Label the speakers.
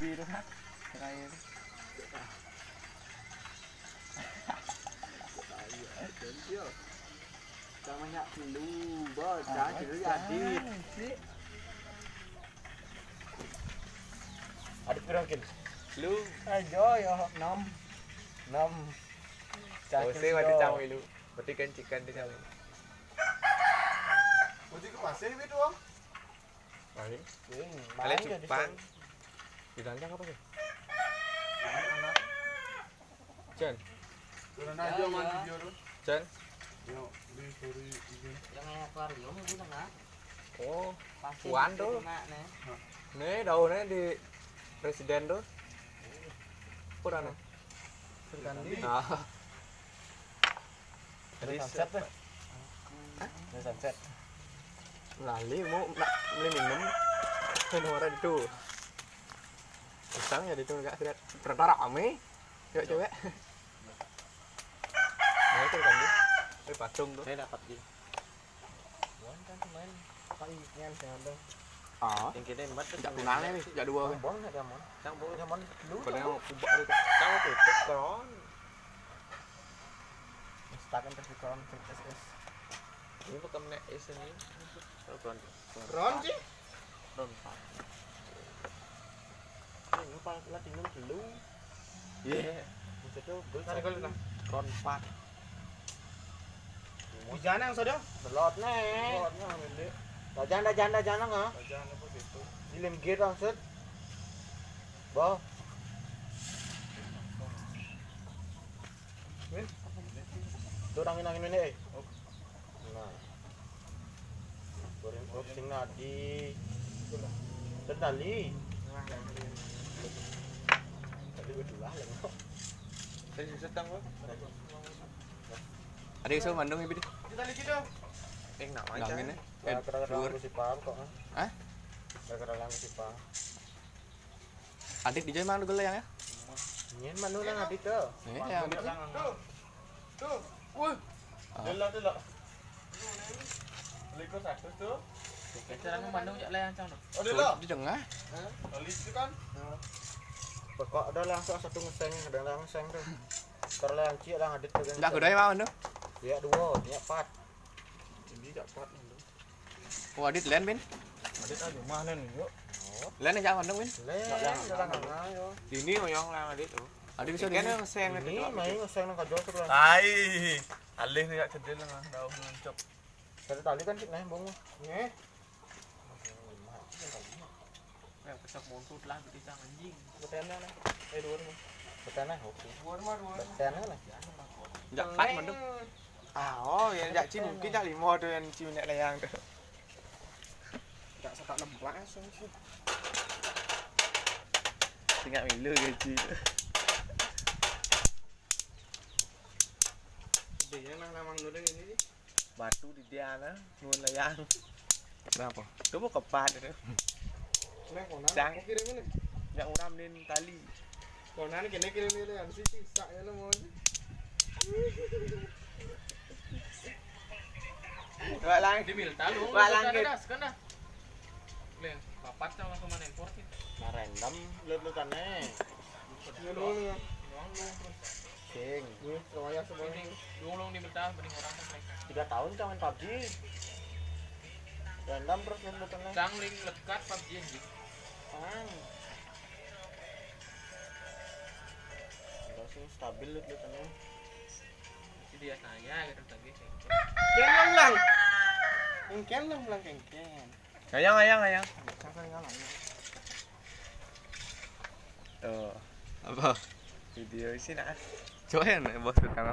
Speaker 1: Biro ha? Terakhir.
Speaker 2: Namanya lu, bos. Jangan dulu jadi.
Speaker 3: Ada pirokin.
Speaker 2: Lu,
Speaker 1: Ayo yo enam. Enam.
Speaker 2: Jose
Speaker 1: yo.
Speaker 2: wadi cawi lu. Berarti kan cikan di cawi.
Speaker 4: Uji ke pasir itu doang.
Speaker 3: Paling.
Speaker 1: Ding,
Speaker 2: Kalian
Speaker 1: mangga di
Speaker 2: cupang.
Speaker 1: sini.
Speaker 3: Dirancang apa sih?
Speaker 4: Anak.
Speaker 3: Jan.
Speaker 4: Karena aja
Speaker 5: Ya,
Speaker 4: mandi
Speaker 5: ya.
Speaker 4: biar.
Speaker 3: Jan.
Speaker 4: Yo, di story ini.
Speaker 5: Yang kayak akuarium itu tengah.
Speaker 3: Oh.
Speaker 5: Pasti
Speaker 3: Puan tuh.
Speaker 5: Makna.
Speaker 3: Nih daunnya di presiden tuh. Kurang nih.
Speaker 4: Tadi
Speaker 3: Ah.
Speaker 1: Dari sunset deh. Dari sunset.
Speaker 3: Lali mau nak beli minum. Kan orang itu. Pisang ya itu enggak sudah tertara ame. Yuk cewek. Nah, itu kan dia. Eh, patung tuh.
Speaker 2: Saya dapat di.
Speaker 1: Buan kan main. Kali nyan ada.
Speaker 3: Ah.
Speaker 2: Yang kita empat tuh.
Speaker 3: Jak tunangnya nih, jak dua.
Speaker 1: Buang ada mon.
Speaker 2: Cang bos.
Speaker 1: Ada mon. Lu.
Speaker 3: Padahal mau kubak itu. Kamu tutup keron.
Speaker 1: Stakan terfikron SS.
Speaker 2: Ini bukan nek esen ini. Kalau kan.
Speaker 4: Ron sih.
Speaker 2: Ini ngepal lah tinggal dulu.
Speaker 3: Iya.
Speaker 2: Itu tuh bos.
Speaker 4: Tadi kau lihat.
Speaker 2: Konpak.
Speaker 4: Bujana yang sadar.
Speaker 2: Belot nih.
Speaker 4: Rodnya ambil.
Speaker 2: Dajan dajan dajan nggak?
Speaker 4: Jangan apa itu.
Speaker 2: Dilem gear langsung. Bo. Tuh angin angin ini. eh. Nah. Goreng kok sing nadi. Terdali. Tadi gue dulu lah.
Speaker 4: Tadi setang kok.
Speaker 3: Ada isu mandung ibu di.
Speaker 4: Kita lagi dong.
Speaker 2: Eh nak
Speaker 3: Nangin nih. Eh,
Speaker 2: Gara-gara
Speaker 3: keluar.
Speaker 2: Nah, aku si paham kok.
Speaker 3: Hah?
Speaker 2: Gara-gara aku si paham.
Speaker 3: Adik di mana gue yang ya?
Speaker 2: Nyen manu nang abis tuh.
Speaker 3: Eh, yang di.
Speaker 4: Tuh. Tuh. Wuh. Delok delok. Liko satu tuh.
Speaker 5: Kita orang Bandung jak layang cang tu.
Speaker 4: Oh
Speaker 3: Tuh,
Speaker 4: delok.
Speaker 3: Di tengah.
Speaker 4: Oli itu kan.
Speaker 2: Pokok ada langsung satu ngeseng, ada langsung tuh. Kalau yang cia lah ada tuh.
Speaker 3: Enggak gue mau mandung.
Speaker 2: Ya dua, ya empat.
Speaker 4: Jadi gak kuat nih. lu.
Speaker 3: Wah, di lain bin.
Speaker 4: Adit aja mana nih yuk.
Speaker 3: Lain aja mandung bin.
Speaker 2: Leh, jalan mana yo?
Speaker 1: Ini yang lang adik tuh.
Speaker 3: Adik bisa di. sini.
Speaker 2: Ini main ngeseng nang kajol tuh.
Speaker 4: Tai. Alih nih gak cedil lah. Tahu ngancok.
Speaker 2: Dari tali kan sih nembong. Nih.
Speaker 5: Ya pesok buntut lah gitu cang anjing.
Speaker 2: Betena nih. Eh dua nih. Betena oke.
Speaker 4: Buar mah dua.
Speaker 2: Betena nih.
Speaker 3: Jak pas mandung.
Speaker 2: À,
Speaker 1: Ah, oh, yang
Speaker 2: dạ,
Speaker 1: jak ci mungkin jak lima tu yang ci nak layang tu.
Speaker 4: Gak sekak lembak langsung sih.
Speaker 1: Tengah milo ke ci.
Speaker 4: Dia nang namang dulu ini.
Speaker 1: Batu di dia lah, mun layang.
Speaker 3: Kenapa?
Speaker 1: Tu mau kepat tu.
Speaker 4: Nang konan.
Speaker 1: Cang.
Speaker 4: Aku kirim ini.
Speaker 1: Jak uram nin tali.
Speaker 4: Konan kene kirim ini yang sih sak ya lo mau.
Speaker 1: Wak lang.
Speaker 5: Di mil talu.
Speaker 1: Wah, langit.
Speaker 5: Kena. Leh, papat cang langsung mana impor sih.
Speaker 2: Nah random lelutan nih.
Speaker 4: Ngono nih.
Speaker 5: Luang luang terus.
Speaker 2: Sing.
Speaker 4: Nih, semuanya semuanya.
Speaker 5: Bening, luang luang di betah bening orang tuh. mereka.
Speaker 2: Tiga tahun cang main PUBG. Random terus lelutan nih.
Speaker 5: Cang ling lekat PUBG anjing.
Speaker 2: Apaan? Enggak sih stabil lelutan nih.
Speaker 5: Jadi dia saya gitu tadi.
Speaker 4: Kengkeng lang. Kengkeng lang lang kengkeng.
Speaker 1: Ayang ayang ayang.
Speaker 4: Cangkang ngalang.
Speaker 1: Tuh,
Speaker 3: Apa? Vâng.
Speaker 1: video sih nak.
Speaker 3: Coba ya, bos. Kamu